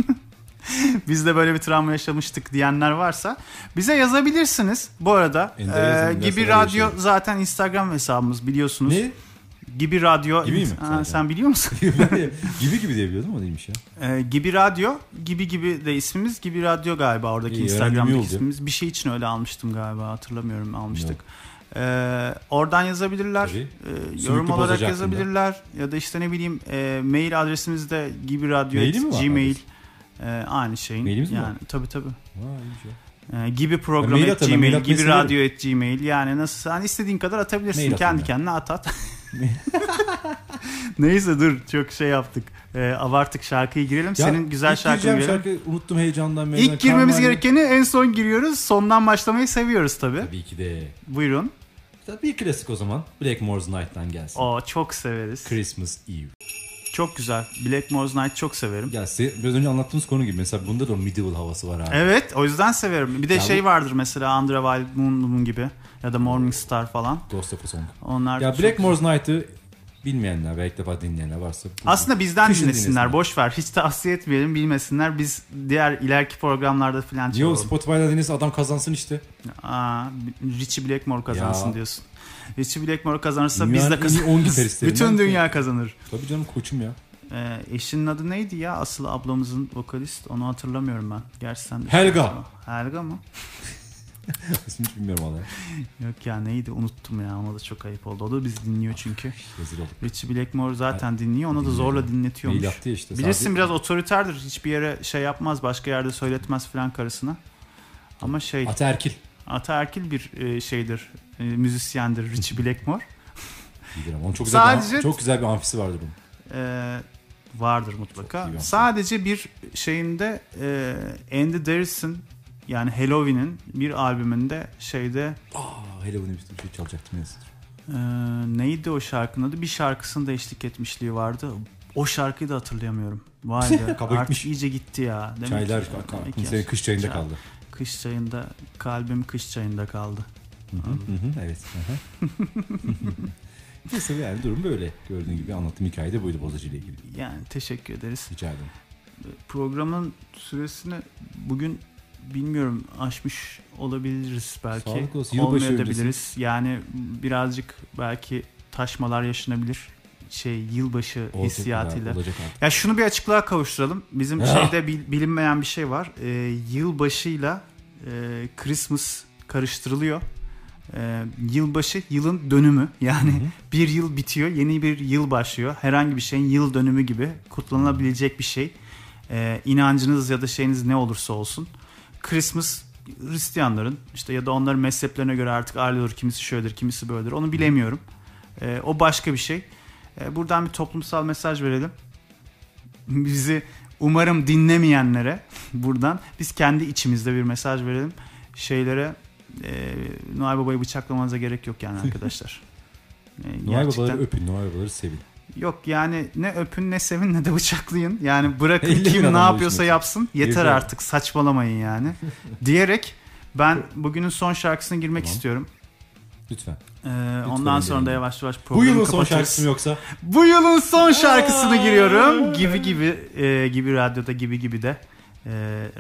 C: biz de böyle bir travma yaşamıştık diyenler varsa bize yazabilirsiniz. Bu arada
B: Ender
C: e,
B: yazın,
C: Gibi
B: derslere
C: Radyo
B: geçelim.
C: zaten Instagram hesabımız biliyorsunuz.
B: ne?
C: Gibi Radyo.
B: Gibi mi?
C: Ha,
B: Zaten.
C: sen biliyor musun?
B: gibi gibi diye biliyordum o değilmiş ya.
C: E, gibi Radyo. Gibi gibi de ismimiz. Gibi Radyo galiba oradaki
B: İyi, öğrendim, iyi
C: Instagram'daki
B: oldu.
C: ismimiz. Bir şey için öyle almıştım galiba hatırlamıyorum almıştık. E, oradan yazabilirler.
B: Tabii.
C: E, yorum olarak
B: bozacak
C: yazabilirler. Ya da işte ne bileyim e, mail adresimiz de Gibi Radyo.
B: Maili mi var
C: Gmail.
B: adresi?
C: E, aynı şeyin.
B: Mailimiz mi var?
C: yani, Tabii tabii.
B: Ha, iyiymiş ya.
C: Ee, gibi program
B: Mail
C: et
B: atarım, mail
C: gmail
B: atmayı
C: gibi
B: severim.
C: radyo et gmail yani nasıl sen istediğin kadar atabilirsin
B: Mail atın
C: kendi
B: ya.
C: kendine at at. Neyse dur çok şey yaptık Ee, abarttık şarkıyı girelim
B: Ya,
C: senin güzel
B: ilk
C: şarkını
B: gireceğim
C: girelim.
B: şarkı unuttum heyecandan. meyecandan.
C: İlk girmemiz
B: Karmali-
C: gerekeni en son giriyoruz sondan başlamayı seviyoruz tabi.
B: Tabii ki de.
C: Buyurun.
B: Bir klasik o zaman. Blackmore's Night'tan gelsin.
C: O çok severiz.
B: Christmas Eve.
C: Çok güzel. Blackmore's Night çok severim.
B: Ya size biraz önce anlattığımız konu gibi mesela bunda da o medieval havası var abi.
C: Evet o yüzden severim. Bir de
B: Ya bu-
C: şey vardır mesela Andra Wild Moon gibi ya da Morning Star falan.
B: Ghost of a Song.
C: Onlar
B: Ya
C: çok-
B: Blackmore's Night'ı bilmeyenler veya ilk defa dinleyenler varsa. bu-
C: Aslında bizden
B: Kışın
C: dinlesinler.
B: dinlesinler.
C: Boş ver. Hiç tavsiye etmeyelim, bilmesinler. Biz diğer ileriki programlarda falan
B: Yo
C: çalalım.
B: Spotify'da dinlesin adam kazansın işte.
C: Aa, Richie Blackmore kazansın
B: Ya.
C: diyorsun.
B: diyorsun.
C: Richie Blackmore kazanırsa
B: Dünyanın
C: biz
B: en
C: de
B: iyi
C: kazanırız.
B: 10 gitaristlerinden
C: Bütün
B: biri.
C: dünya kazanır.
B: Tabii canım koçum ya.
C: Ee, eşinin adı neydi ya? Asıl ablamızın vokalist. Onu hatırlamıyorum ben. Gerçi sen de-
B: Helga.
C: Helga mı?
B: İsmini hiç bilmiyorum valla.
C: Yok ya neydi unuttum ya. Ona da çok ayıp oldu. O da bizi dinliyor çünkü.
B: Rezil olduk.
C: Richie Blackmore zaten dinliyor. Onu da zorla dinletiyormuş.
B: Mail attı ya işte.
C: Bilirsin
B: Sabit-
C: biraz otoriterdir. Hiçbir yere şey yapmaz, başka yerde söyletmez filan karısına. Ama şey,
B: Ataerkil.
C: ataerkil bir e, şeydir, e, müzisyendir Richie Blackmore.
B: Bilir ama onun çok güzel,
C: Sadece-
B: bir, çok güzel bir amfisi vardı bunun.
C: E, vardır
B: Çok
C: mutlaka.
B: iyi bir
C: Sadece bir şeyinde e, Andy Daris'in yani Halloween'in bir albümünde şeyde
B: Aa hele bunu bir şey çalacaktım ya.
C: e, neydi o şarkının adı? Bir şarkısında eşlik etmişliği vardı. O şarkıyı da hatırlayamıyorum. Vay be.
B: Kaba
C: artık
B: gitmiş.
C: iyice gitti ya. Demek
B: Çaylar
C: ki-
B: aklım senin kış çayında
C: Çay.
B: kaldı.
C: Kış çayında kalbim kış çayında kaldı.
B: Hı hı, evet. Hı hı. Neyse yani durum böyle. Gördüğün gibi anlattığım hikaye de buydu bozacı ile ilgili.
C: Yani teşekkür ederiz.
B: Rica ederim.
C: Programın süresini bugün bilmiyorum aşmış olabiliriz belki.
B: Sağlık olsun. Yılbaşı
C: Olmayabiliriz. Yani birazcık belki taşmalar yaşanabilir. Şey yılbaşı
B: Olacak
C: hissiyatıyla.
B: kadar Olacak artık.
C: Ya şunu bir açıklığa kavuşturalım. Bizim şeyde bil- bilinmeyen bir şey var. Ee, yılbaşıyla e, Christmas karıştırılıyor. Ee, yılbaşı yılın dönümü. Yani bir yıl bitiyor, yeni bir yıl başlıyor. Herhangi bir şeyin yıl dönümü gibi kutlanabilecek bir şey. Ee, inancınız ya da şeyiniz ne olursa olsun. Christmas Hristiyanların işte ya da onların mezheplerine göre artık ayrılır. Kimisi şöyledir, kimisi böyledir. Onu bilemiyorum. Ee, o başka bir şey. Ee, buradan bir toplumsal mesaj verelim bizi umarım dinlemeyenlere buradan biz kendi içimizde bir mesaj verelim. Şeylere e, Noel Baba'yı bıçaklamanıza gerek yok yani arkadaşlar. E,
B: Noel
C: gerçekten-
B: babaları öpün, Noel babaları sevin.
C: Yok yani ne öpün ne sevin ne de bıçaklayın. Yani bırakın
B: Elli bin
C: kim ne
B: adam bu
C: yapıyorsa
B: işin
C: yapsın. Yeter
B: Yeter.
C: artık saçmalamayın yani. Diyerek ben bugünün son şarkısına girmek
B: Tamam.
C: istiyorum.
B: Lütfen.
C: E, ondan sonra da
B: dinleyin.
C: yavaş yavaş
B: Bu
C: programı
B: yılın son
C: kapatırız.
B: şarkısı mı yoksa?
C: Bu yılın son şarkısını giriyorum. Gibi gibi e, gibi radyoda gibi gibi de e,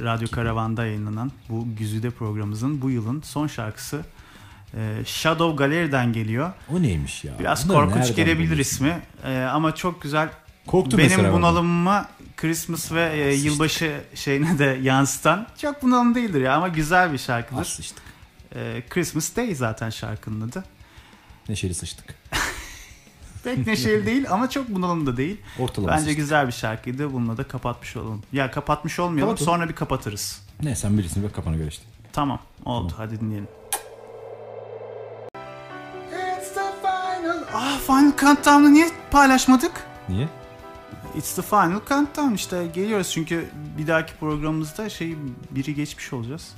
C: Radyo Karavan'da yayınlanan bu Güzide programımızın bu yılın son şarkısı e, Shadow Gallery'den geliyor.
B: O neymiş ya?
C: Biraz
B: Bunları
C: korkunç
B: nereden
C: gelebilir
B: buluyorsun?
C: ismi e, ama çok güzel.
B: Korktum mesela
C: Benim
B: ben.
C: bunalımıma Christmas ve e,
B: Ah,
C: yılbaşı şeyine de yansıtan çok bunalım değildir ya ama güzel bir şarkıdır.
B: As işte.
C: Ee, Christmas Day zaten şarkının adı.
B: Neşeli sıçtık.
C: Pek neşeli değil ama çok bunalım da değil.
B: Ortalama
C: Bence
B: sıçtık.
C: güzel bir şarkıydı. Bununla da kapatmış olalım. Ya kapatmış olmayalım
B: Kapatalım.
C: sonra bir kapatırız.
B: Ne sen bilirsin bak kafana göre işte.
C: Tamam oldu hadi dinleyelim. Ah Final Countdown'ı niye paylaşmadık?
B: Niye?
C: It's the Final Countdown işte geliyoruz çünkü bir dahaki programımızda şey biri geçmiş olacağız.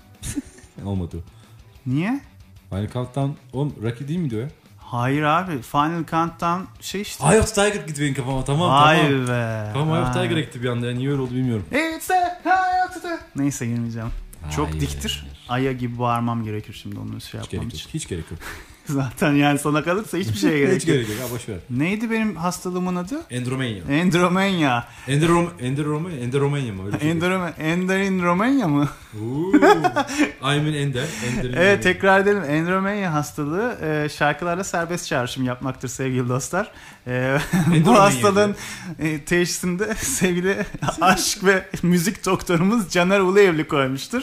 B: Olmadı. o.
C: Niye?
B: Final Countdown oğlum Rocky değil miydi o ya?
C: Hayır abi Final Countdown şey işte.
B: Eye of Tiger gitti benim kafama tamam
C: Vay
B: tamam.
C: be.
B: Tamam Eye of
C: Vay.
B: Tiger gitti bir anda ya, niye öyle oldu bilmiyorum.
C: It's the Final Countdown. Neyse girmeyeceğim. Çok
B: Hayır.
C: diktir. Aya gibi bağırmam gerekir şimdi onu şey
B: Hiç
C: yapmam
B: gerek yok.
C: için.
B: Hiç gerek yok.
C: Zaten yani sana kalırsa hiçbir şeye gerek
B: Hiç
C: yok.
B: gerek yok. Ha boş ver.
C: Neydi benim hastalığımın adı?
B: Endromenya.
C: Endromenya.
B: Enderom Enderomenya, Enderomenya mı öyle bir şey?
C: Endrome Ender in Romanya mı?
B: Ooh. I'm in Ender. Ender
C: Evet tekrar edelim. Endromenya hastalığı e, şarkılarla serbest çağrışım yapmaktır sevgili dostlar. E, bu
B: Endromenya.
C: hastalığın e, teşhisinde sevgili aşk ve müzik doktorumuz Caner Uluevli koymuştur.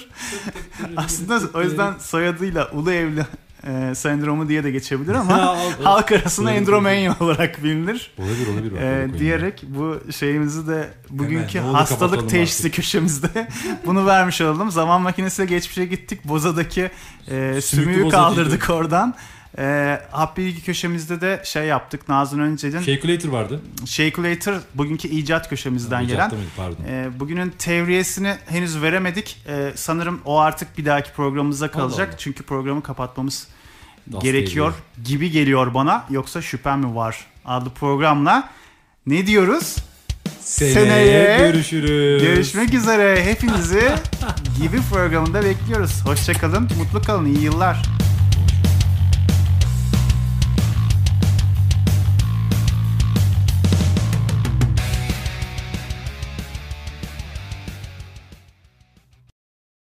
C: Aslında o yüzden soyadıyla Uluevli e, sendromu diye de geçebilir ama halk arasında Endromenya olarak bilinir.
B: Olabilir olabilir. bak,
C: E,
B: öyle koyayım.
C: diyerek bu şeyimizi de bugünkü
B: Hemen, ne oldu
C: hastalık
B: kapatalım
C: teşhisi
B: artık.
C: köşemizde bunu vermiş olalım. Zaman makinesiyle geçmişe gittik. Boza'daki e, sümüğü
B: Boza
C: kaldırdık oradan. E, Happy Bilgi köşemizde de şey yaptık. Nazan Öncel'in
B: Calculator vardı.
C: Shakulator bugünkü icat köşemizden gelen.
B: İcatta mıydı? Pardon.
C: E, bugünün tevriyesini henüz veremedik. E, sanırım o artık bir dahaki programımıza kalacak.
B: Allah.
C: Çünkü programı kapatmamız
B: Das
C: gerekiyor gibi geliyor bana. Yoksa şüphem mi var adlı programla. Ne diyoruz?
B: Seneye, görüşürüz.
C: Görüşmek üzere. Hepinizi gibi programında bekliyoruz. Hoşçakalın, mutlu kalın, iyi yıllar.